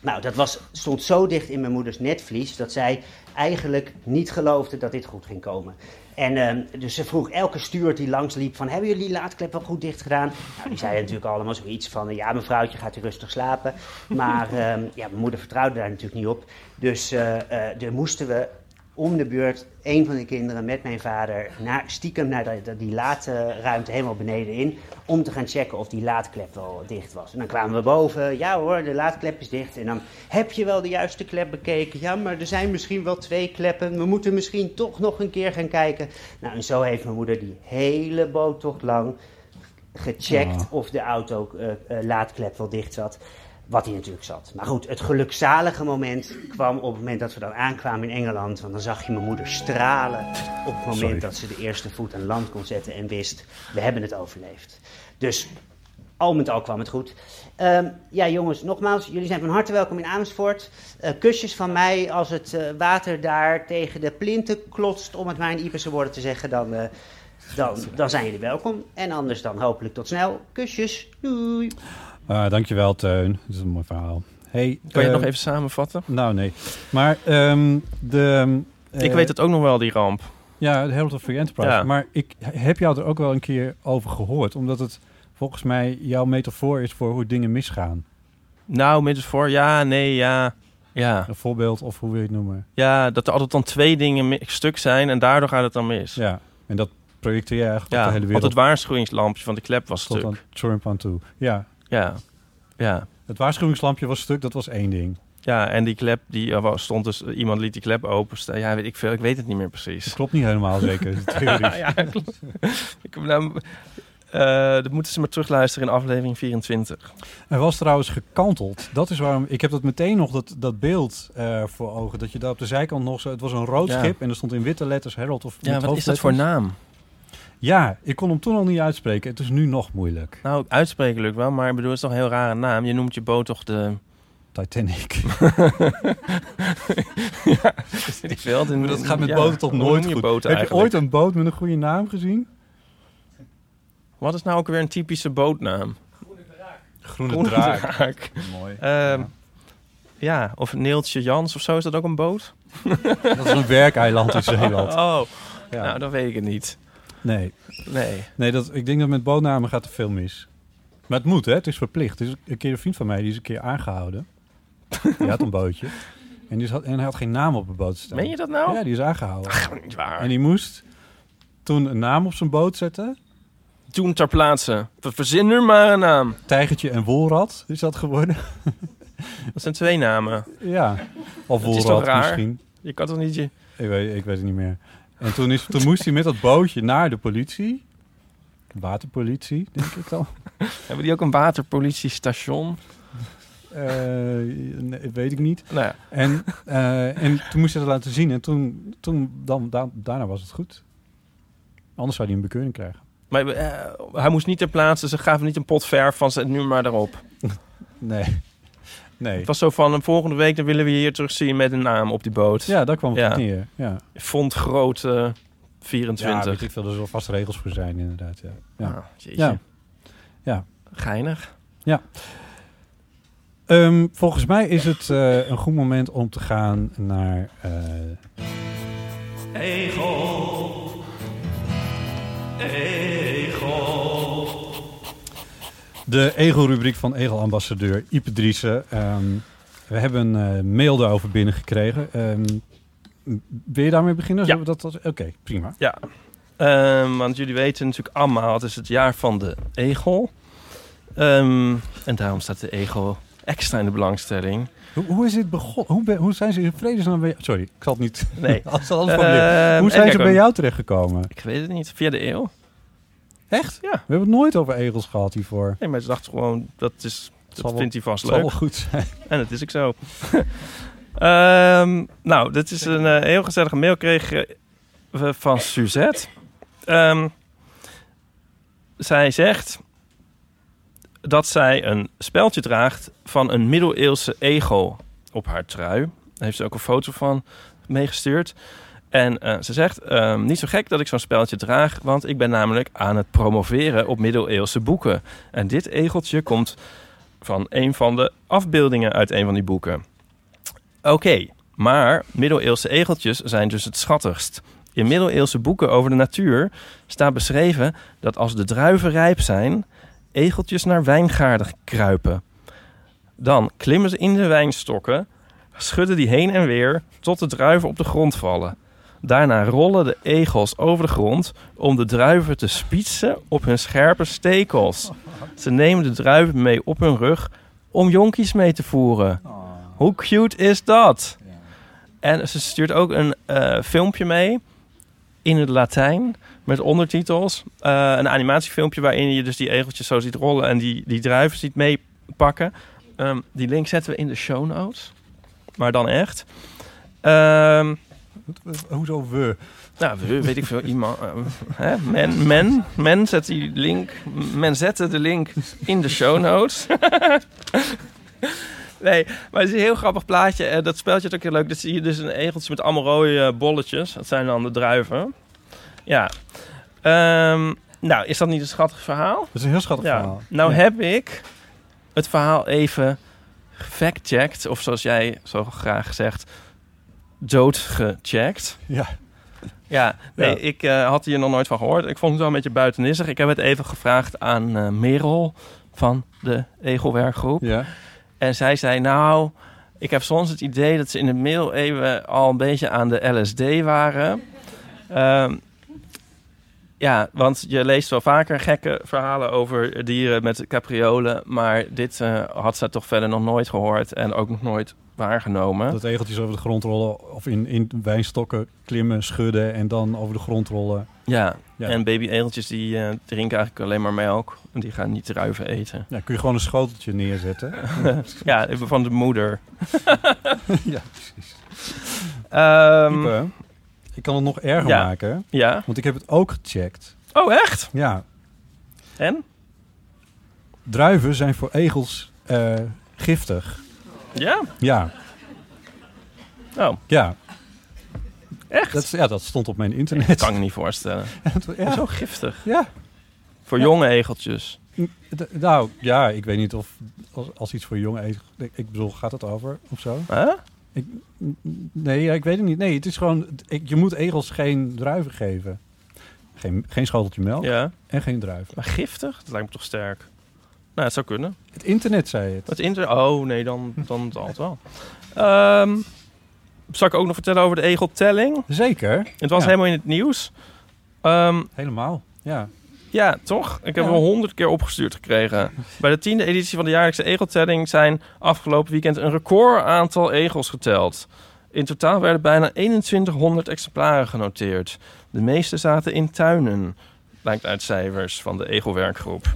G: Nou, dat was, stond zo dicht in mijn moeders netvlies dat zij eigenlijk niet geloofde dat dit goed ging komen. En ehm, dus ze vroeg elke stuur die langsliep van, hebben jullie die laadklep wel goed dicht gedaan? Nou, die zeiden natuurlijk allemaal zoiets van, ja mevrouwtje gaat hier rustig slapen. Maar ehm, ja, mijn moeder vertrouwde daar natuurlijk niet op. Dus eh eh, daar moesten we om de beurt, een van de kinderen met mijn vader, naar, stiekem naar dat- dat- die laadruimte helemaal beneden in. Om te gaan checken of die laadklep wel dicht was. En dan kwamen we boven, ja hoor, de laadklep is dicht. En dan heb je wel de juiste klep bekeken. Ja, maar er zijn misschien wel twee kleppen. We moeten misschien toch nog een keer gaan kijken. Nou, en zo heeft mijn moeder die hele boottocht lang gecheckt
I: Ah.
G: of de auto eh, eh, laadklep wel dicht zat. Wat hij natuurlijk zat. Maar goed, het gelukzalige moment kwam op het moment dat we dan aankwamen in Engeland. Want dan zag je mijn moeder stralen op het moment
I: Sorry.
G: dat ze de eerste voet aan land kon zetten en wist, we hebben het overleefd. Dus al met al kwam het goed. Ehm, ja jongens, nogmaals, jullie zijn van harte welkom in Amersfoort. Eh, kusjes van mij als het eh, water daar tegen de plinten klotst, om het maar in Iperse woorden te zeggen, dan... eh, dan, dan zijn jullie welkom. En anders dan hopelijk tot snel. Kusjes. Doei.
C: Ah, dankjewel, Teun. Dat is een mooi verhaal. Hey,
B: Kan je het
C: eh,
B: nog even samenvatten?
C: Nou, nee. Maar ehm, de... eh,
B: ik weet het ook nog wel, die ramp.
C: Ja, de Herald of Free Enterprise.
B: Ja.
C: Maar ik heb jou er ook wel een keer over gehoord. Omdat het volgens mij jouw metafoor is voor hoe dingen misgaan.
B: Nou, middels voor, ja, nee, ja. ja.
C: Een voorbeeld, of hoe wil je het noemen?
B: Ja, dat er altijd dan twee dingen mi- stuk zijn en daardoor gaat het dan mis.
C: Ja, en dat projecteer je eigenlijk
B: ja,
C: op de hele
B: Want
C: wereld.
B: het waarschuwingslampje van de klep was
C: Tot
B: stuk.
C: aan Trump aan toe. Ja.
B: Ja. ja.
C: Het waarschuwingslampje was stuk, dat was één ding.
B: Ja, en die klep, die eh, was- stond dus, iemand liet die klep openstaan. Ja, weet ik veel, ik weet het niet meer precies. <laughs> Dat
C: klopt niet helemaal zeker, de theorie.
B: ja, klopt. ik, heb nou, eh, dat moeten ze maar terugluisteren in aflevering 24.
C: Er was trouwens gekanteld. Dat is waarom... Ik heb dat meteen nog, dat, dat beeld eh, voor ogen. Dat je daar op de zijkant nog zo... Het was een rood
B: Ja.
C: schip en er stond in witte letters Herald of...
B: Ja,
C: met
B: wat is dat voor
C: hoofdletters.
B: naam?
C: Ja, ik kon hem toen al niet uitspreken. Het is nu nog moeilijk.
B: Nou, uitspreken lukt wel, maar ik bedoel, het is toch een heel rare naam. Je noemt je boot toch de...
C: Titanic.
B: ja, weet ik veel.
C: Maar <laughs> dat gaat met
B: ja,
C: boten toch
B: hoe
C: nooit
B: noem je
C: goed.
B: boten
C: Heb je
B: eigenlijk?
C: ooit een boot met een goede naam gezien?
B: Wat is nou ook weer een typische bootnaam?
C: Groene
B: draak.
C: draak.
B: Mooi. ja. Ehm, of Neeltje Jans of zo, is dat ook een boot?
C: Dat is een werkeiland in
B: <laughs>
C: Zeeland.
B: Oh,
C: Ja.
B: nou, dan weet ik het niet.
C: Nee.
B: Nee.
C: Nee, dat, ik denk dat met bootnamen gaat er veel mis. Maar het moet, hè? Het is verplicht. Er is een keer een vriend van mij, die is een keer
B: <laughs>
C: aangehouden. Die had een bootje. En, die had, en hij had geen naam op de boot staan.
B: Meen je dat nou?
C: Ja, die is aangehouden.
B: Ach, niet waar.
C: En die moest toen een naam op zijn boot zetten.
B: Toen ter plaatse. We verzinnen er maar een naam.
C: Tijgertje en wolrad is dat geworden. <laughs>
B: Dat zijn twee namen.
C: Ja. Of
B: Dat is toch
C: wolrad
B: raar?
C: misschien.
B: Je kan toch niet je...
C: Ik weet, ik weet het niet meer. En toen, is, toen moest hij met dat bootje naar de politie. Waterpolitie, denk ik dan. <laughs>
B: Hebben die ook een waterpolitiestation?
C: Eh, nee, weet ik niet.
B: Nou ja.
C: en, eh, en toen moest hij dat laten zien. En toen, toen dan, da- daarna was het goed. Anders zou hij een bekeuring krijgen.
B: Maar eh, hij moest niet ter plaatse. Ze gaven niet een pot verf van zet nu maar erop.
C: Nee. Nee.
B: Het was zo van, "Eh, volgende week dan willen we je hier terugzien met een naam op die boot.
C: Ja, daar kwam het op neer, ja.
B: Font groot eh, 24.
C: Ja, weet ik veel. Er zullen vast regels voor zijn, inderdaad. Ja. Ja.
B: Ah, jeetje.
C: ja. ja.
B: Geinig.
C: Ja. Ehm, volgens mij is het eh, een goed moment om te gaan naar... eh,
D: Egel. Egel.
C: De Egel-rubriek van Egel-ambassadeur Ipe Driessen. Ehm, we hebben een eh, mail daarover binnengekregen. Ehm, m- wil je daarmee beginnen? Zullen we dat- dat- Oké, prima.
B: Ja, Ehm, want jullie weten natuurlijk allemaal, het is het jaar van de egel. Ehm, en daarom staat de egel extra in de belangstelling.
C: Hoe, hoe is dit begonnen? Hoe, ben- hoe zijn ze in vredesnaam bij jou... Sorry, ik zal het niet... <laughs>
B: Nee.
C: Als het anders van leren.
B: Ehm, even
C: Hoe zijn ze bij
B: kijken.
C: jou terechtgekomen?
B: Ik weet het niet, via de eeuw.
C: Echt?
B: Ja.
C: We hebben het nooit over egels gehad hiervoor.
B: Nee, maar ze dacht gewoon, dat, is,
C: zal
B: dat
C: wel-
B: vindt hij vast
C: het
B: leuk.
C: zal wel goed zijn.
B: En dat is ook zo. <laughs> Ehm, nou, dit is een eh, heel gezellige mail kregen we van Suzette. Ehm, zij zegt dat zij een speldje draagt van een middeleeuwse egel op haar trui. Daar heeft ze ook een foto van meegestuurd. En eh, ze zegt, ehm, niet zo gek dat ik zo'n speldje draag, want ik ben namelijk aan het promoveren op middeleeuwse boeken. En dit egeltje komt van een van de afbeeldingen uit een van die boeken. Oké, maar middeleeuwse egeltjes zijn dus het schattigst. In middeleeuwse boeken over de natuur staat beschreven dat als de druiven rijp zijn, egeltjes naar wijngaarden kruipen. Dan klimmen ze in de wijnstokken, schudden die heen en weer tot de druiven op de grond vallen. Daarna rollen de egels over de grond om de druiven te spietsen op hun scherpe stekels. Ze nemen de druiven mee op hun rug om jonkies mee te voeren. Hoe cute is dat? En ze stuurt ook een eh, filmpje mee in het Latijn met ondertitels. Eh, een animatiefilmpje waarin je dus die egeltjes zo ziet rollen en die, die druiven ziet meepakken. Ehm, die link zetten we in de show notes. Maar dan echt. Ehm,
C: <laughs> Hoezo we?
B: nou, we- weet ik veel. Iemand, eh, hè? Men, men, men zet die link. Men zette de link in de show notes. <laughs> nee, maar het is een heel grappig plaatje. Eh, dat speltje is ook heel leuk. Dat zie je dus een egeltje met allemaal rode eh, bolletjes. Dat zijn dan de druiven. Ja. Ehm, nou, is dat niet een schattig verhaal? Dat
C: is een heel schattig verhaal.
B: Nou
C: Ja.
B: heb ik het verhaal even fact-checked. Of zoals jij zo graag zegt, doodgecheckt.
C: Ja.
B: Ja, nee,
C: Ja.
B: ik eh, had hier nog nooit van gehoord. Ik vond het wel een beetje buitenissig. Ik heb het even gevraagd aan eh, Merel van de Egelwerkgroep.
C: Ja.
B: En zij zei, nou, ik heb soms het idee dat ze in de mail even al een beetje aan de LSD waren. Ehm, ja, want je leest wel vaker gekke verhalen over dieren met capriolen. Maar dit eh, had ze toch verder nog nooit gehoord en ook nog nooit waargenomen.
C: Dat egeltjes over de grond rollen of in, in wijnstokken klimmen, schudden en dan over de grond rollen.
B: Ja,
C: Ja.
B: en babyegeltjes die eh, drinken eigenlijk alleen maar melk. En die gaan niet druiven eten.
C: Ja, kun je gewoon een schoteltje neerzetten.
B: ja, van de moeder.
C: <laughs> ja, precies.
B: Ehm
C: Ipe, Ehm, ik kan het nog erger
B: Ja.
C: maken.
B: Ja.
C: Want ik heb het ook gecheckt.
B: oh, echt?
C: Ja,
B: En?
C: druiven zijn voor egels eh, giftig.
B: Ja?
C: Ja.
B: Oh.
C: Ja.
B: Echt?
C: Dat, ja, dat stond op mijn internet.
B: Dat
C: <laughs>
B: kan ik niet voorstellen.
C: Ja.
B: Zo giftig.
C: Ja.
B: Voor jonge egeltjes.
C: D- Nou, ja, ik weet niet of als, als iets voor jonge egels... Ik bedoel, gaat het over of zo?
B: Huh?
C: Ik, n- n- nee, ja, ik weet het niet. Nee, het is gewoon... ik- je moet egels geen druiven geven. Geen, geen schoteltje melk
B: Ja.
C: en geen druiven.
B: Maar giftig? Dat lijkt me toch sterk. Nou, het zou kunnen.
C: Het internet zei het.
B: Het inter... Oh, nee, dan, dan het altijd wel. Ehm, zal ik ook nog vertellen over de egeltelling?
C: Zeker.
B: Het was
C: Ja.
B: helemaal in het nieuws. Ehm,
C: Helemaal, ja.
B: Ja, toch? Ik heb
C: Ja.
B: hem honderd keer opgestuurd gekregen. Bij de tiende editie van de jaarlijkse egeltelling zijn afgelopen weekend een record aantal egels geteld. In totaal werden bijna 2100 exemplaren genoteerd. De meeste zaten in tuinen, blijkt uit cijfers van de egelwerkgroep.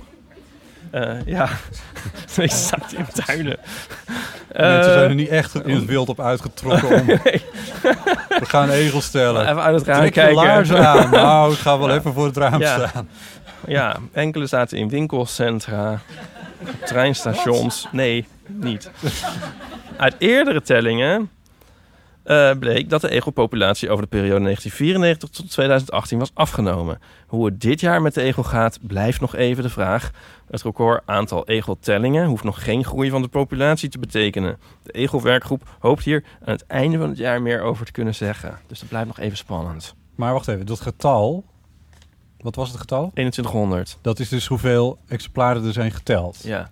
B: Eh, ja, <laughs> de meeste zaten in tuinen.
C: Mensen zijn
B: Eh,
C: er niet echt in het wild op uitgetrokken
B: <laughs>
C: om... We gaan egels stellen.
B: Eh, Even uit het raam
C: Trek je
B: kijken.
C: laarzen
B: <laughs>
C: aan. Nou, ik ga wel even voor het raam
B: Ja.
C: staan.
B: Ja, enkele zaten in winkelcentra. Treinstations. Nee, niet. Uit eerdere tellingen eh, bleek dat de egelpopulatie over de periode 1994 tot 2018 was afgenomen. Hoe het dit jaar met de egel gaat, blijft nog even de vraag. Het record aantal egeltellingen hoeft nog geen groei van de populatie te betekenen. De egelwerkgroep hoopt hier aan het einde van het jaar meer over te kunnen zeggen. Dus dat blijft nog even spannend.
C: Maar wacht even, dat getal... Wat was het getal?
B: 2100.
C: Dat is dus hoeveel exemplaren er zijn geteld.
B: Ja.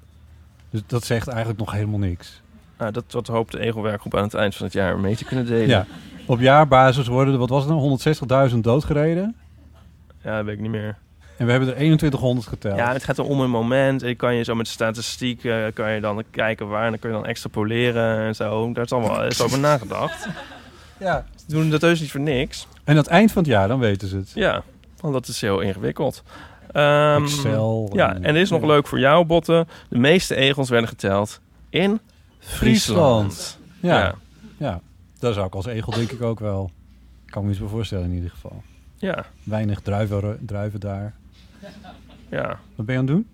C: Dus dat zegt eigenlijk nog helemaal niks.
B: Nou, dat, dat hoopt de egelwerkgroep aan het eind van het jaar mee te kunnen delen.
C: Ja. Op jaarbasis worden er, wat was het nou, 160.000 doodgereden.
B: ja dat weet ik niet meer.
C: En we hebben er 2100 geteld.
B: Ja, het gaat er om een moment. En kan je zo met statistiek eh, kan je dan kijken waar. En dan kun je dan extrapoleren en zo. Daar is allemaal is over nagedacht.
C: Ja.
B: Ze doen dat heus niet voor niks.
C: En aan het eind van het jaar, dan weten ze het.
B: Ja, want dat is heel ingewikkeld. Ehm,
C: Excel en-
B: Ja, en dit is nog leuk voor jou, Botten. De meeste egels werden geteld in Friesland.
C: Ja.
B: Ja.
C: ja. Daar zou ik als egel denk ik ook wel... Kan me iets bij voorstellen in ieder geval.
B: Ja.
C: Weinig druiven, druiven daar.
B: Ja.
C: Wat ben je aan het doen?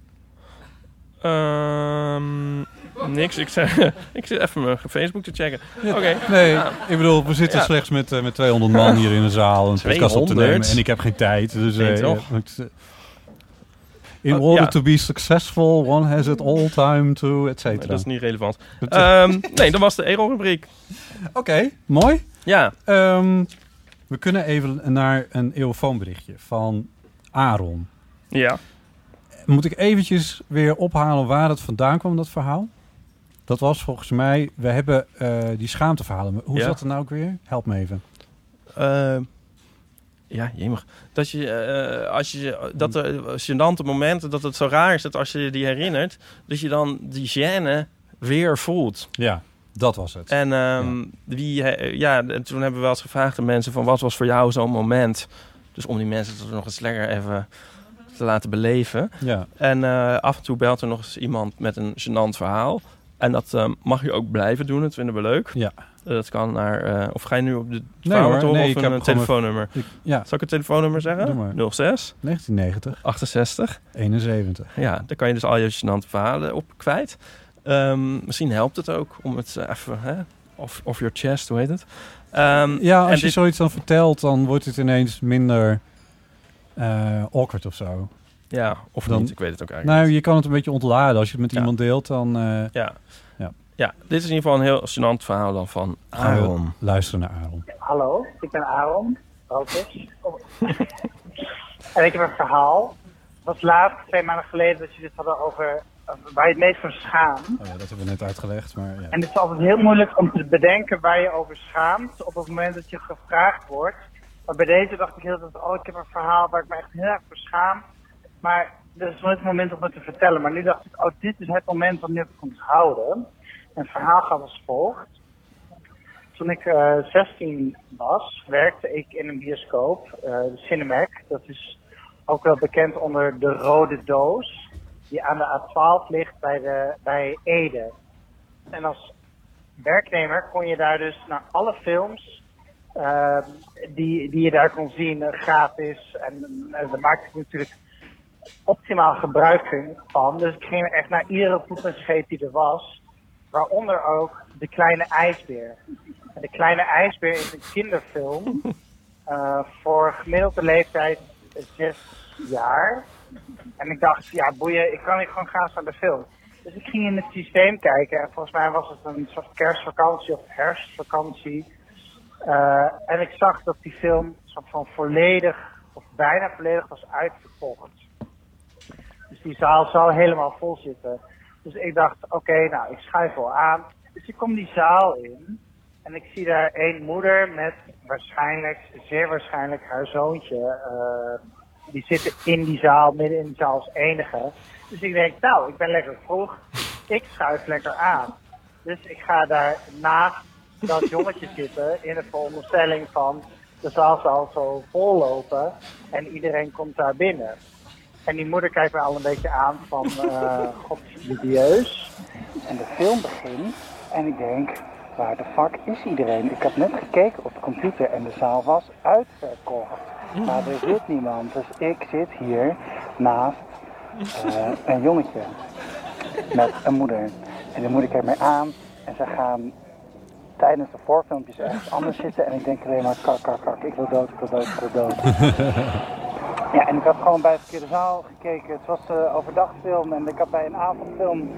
B: Ehm, niks. Ik, zei, <laughs> ik zit even mijn Facebook te checken. Oké.
C: Nee,
B: Ah.
C: ik bedoel, we zitten
B: Ja.
C: slechts met, eh, met 200 man hier in de zaal. Een podcast op te
B: 200?
C: nemen. En ik heb geen tijd. Dus, eh,
B: Nee, toch?
C: het, eh, in
B: Oh,
C: order
B: ja.
C: to be successful, one has it all time to, et
B: Maar
C: cetera.
B: dat is niet relevant.
C: Dat-
B: Ehm, nee, dat was de Egel-rubriek.
C: Oké, mooi.
B: Ja.
C: Ehm, we kunnen even naar een eeuwfoonberichtje van Aaron.
B: Ja.
C: Moet ik eventjes weer ophalen waar het vandaan kwam, dat verhaal? Dat was volgens mij, we hebben eh, die schaamteverhalen. Maar Hoe
B: Ja.
C: zat het nou ook weer? Help me even.
B: Ehm, ja, jemig. Dat je, eh, als je, dat er gênante momenten, dat het zo raar is dat als je je die herinnert, dat je dan die gêne weer voelt.
C: Ja, Eh. dat was het.
B: En ehm, wie, he- ja, en toen hebben we wel eens gevraagd aan mensen van wat was voor jou zo'n moment? Dus om die mensen dat nog eens lekker even te laten beleven.
C: Ja.
B: En eh, af en toe belt er nog eens iemand met een gênant verhaal. En dat ehm, mag je ook blijven doen, dat vinden we leuk.
C: Ja.
B: Eh, dat kan naar, eh, of ga je nu op de
C: Nee
B: verhaal
C: hoor,
B: horen
C: nee,
B: of
C: ik
B: een,
C: heb
B: eh,
C: gewoon een-
B: telefoonnummer?
C: Ik- ja.
B: Zal ik het telefoonnummer zeggen?
C: Doe maar.
B: 06
C: 1990,
B: 68.
C: 71.
B: Ja, daar kan je dus al je gênante verhalen op kwijt. Ehm, misschien helpt het ook om het eh, even, hè, off, off your chest, hoe heet het? Ehm,
C: Ja, als
B: en
C: je
B: dit-
C: zoiets dan vertelt, dan wordt het ineens minder eh, awkward of zo.
B: Ja, of
C: Dan-
B: niet, ik weet het ook eigenlijk
C: Nou,
B: niet.
C: je kan het een beetje ontladen. Als je het met
B: Ja.
C: iemand deelt, dan eh,
B: Ja.
C: Ja. Ah,
B: ja, dit is in ieder geval een heel gênant verhaal dan van
C: gaan we
B: Aaron.
C: luisteren naar Aaron.
G: Hallo, ik ben Aaron Roters. en ik heb een verhaal. Het was laatst, twee maanden geleden, dat jullie het hadden over eh, waar je het meest van schaamt.
C: Oh ja, dat hebben we net uitgelegd, maar ja.
G: En het is altijd heel moeilijk om te bedenken waar je over schaamt op het moment dat je gevraagd wordt. Maar bij deze dacht ik heel dat oh, ik heb een verhaal waar ik me echt heel erg voor schaam. Maar er is nooit het moment om het te vertellen. Maar nu dacht ik, oh, dit is het moment om nu te onthouden. En het verhaal gaat als volgt. Toen ik eh, 16 was, werkte ik in een bioscoop, eh, de Cinemac. Dat is ook wel bekend onder de rode doos, die aan de A12 ligt bij, de, bij Ede. En als werknemer kon je daar dus naar alle films eh, die, die je daar kon zien, eh, gratis. En eh, daar maakte ik natuurlijk optimaal gebruik van. Dus ik ging echt naar iedere voet en scheet die er was. Waaronder ook De Kleine IJsbeer. En de Kleine IJsbeer is een kinderfilm eh, voor gemiddelde leeftijd zes jaar. En ik dacht, ja boeien, ik kan hier gewoon gaan aan de film. Dus ik ging in het systeem kijken en volgens mij was het een soort kerstvakantie of herfstvakantie. Eh, en ik zag dat die film soort van volledig, of bijna volledig was uitverkocht. Dus die zaal zou helemaal vol zitten. Dus ik dacht, oké, nou, ik schuif wel aan. Dus ik kom die zaal in en ik zie daar één moeder met waarschijnlijk, zeer waarschijnlijk haar zoontje. eh, die zitten in die zaal, midden in de zaal als enige. Dus ik denk, nou, ik ben lekker vroeg. Ik schuif lekker aan. Dus ik ga daar naast dat jongetje zitten in de veronderstelling van de zaal zal zo vol lopen en iedereen komt daar binnen. En die moeder kijkt mij al een beetje aan van, eh god, dubieus. En de film begint en ik denk, waar de fuck is iedereen? Ik had net gekeken op de computer en de zaal was uitverkocht. Maar er zit niemand, dus ik zit hier naast eh, een jongetje.
I: met een moeder. En de moeder kijkt mij aan en ze gaan tijdens de voorfilmpjes ergens anders zitten. En ik denk alleen maar kak, kak, kak, ik wil dood, ik wil dood, ik wil dood. Ja, en ik had gewoon bij de verkeerde zaal gekeken. Het was eh, overdag film en ik had bij een avondfilm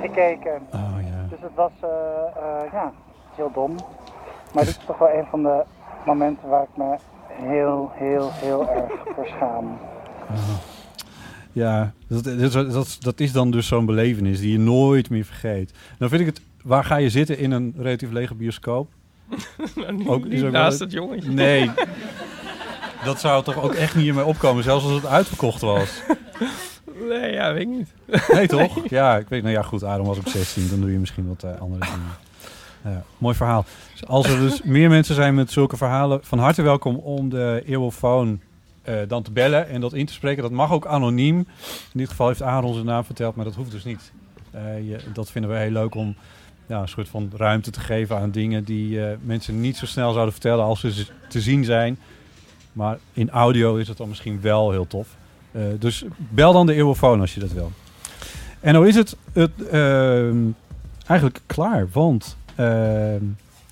I: gekeken.
C: Oh
I: Dus het was, eh, eh, ja, heel dom. Maar dit is toch wel een van de momenten waar ik me heel, heel, heel erg voor schaam.
C: Ja, dat, dat, dat, dat is dan dus zo'n belevenis die je nooit meer vergeet. Dan vind ik het, waar ga je zitten in een relatief
B: <laughs>
C: lege bioscoop?
B: Nou, niet-
C: is
B: niet
C: wel
B: naast
C: het-
B: dat jongetje. <laughs>
C: Nee, dat zou toch ook echt niet meer opkomen, zelfs als het uitverkocht was.
B: Nee, ja, weet ik niet.
C: <laughs> Nee toch? Ja, ik weet, nou ja goed, Adam was ook 16, dan doe je misschien wat eh, andere dingen. Ja, mooi verhaal. Dus als er dus meer mensen zijn met zulke verhalen, van harte welkom om de eeuwofoon eh, dan te bellen en dat in te spreken. Dat mag ook anoniem. In dit geval heeft Aaron zijn naam verteld, maar dat hoeft dus niet. Eh, je, dat vinden we heel leuk om ja, een soort van ruimte te geven aan dingen die eh, mensen niet zo snel zouden vertellen als ze z- te zien zijn. Maar in audio is het dan misschien wel heel tof. Eh, dus bel dan de eeuwofoon als je dat wil. En nou is het, het ehm, eigenlijk klaar, want ehm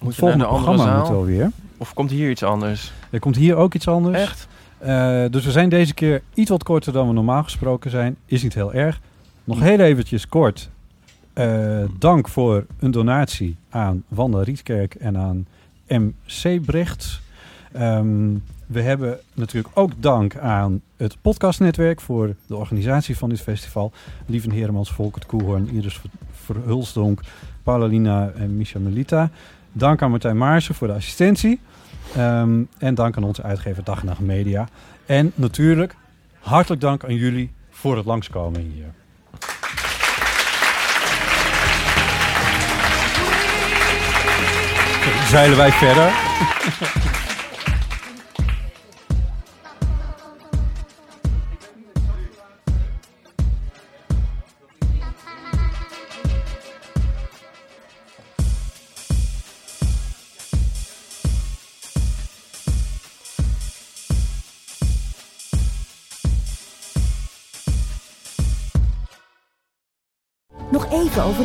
C: het volgende programma moet alweer.
B: Of komt hier iets anders?
C: Er komt hier ook iets anders.
B: Echt?
C: Eh, dus we zijn deze keer iets wat korter dan we normaal gesproken zijn. Is niet heel erg. Nog heel eventjes kort. eh, dank voor een donatie aan Wanda Rietkerk en aan MC Brecht. Ehm, we hebben natuurlijk ook dank aan het podcastnetwerk voor de organisatie van dit festival. Lieven Heremans, Volkert Koehoorn, Iris Ver- Verhulsdonk, Paulina en Misha Melita. Dank aan Martijn Maarsen voor de assistentie. Ehm, en dank aan onze uitgever Dag en Nacht Media. En natuurlijk hartelijk dank aan jullie voor het langskomen hier. Zeilen wij verder.
A: Nog even over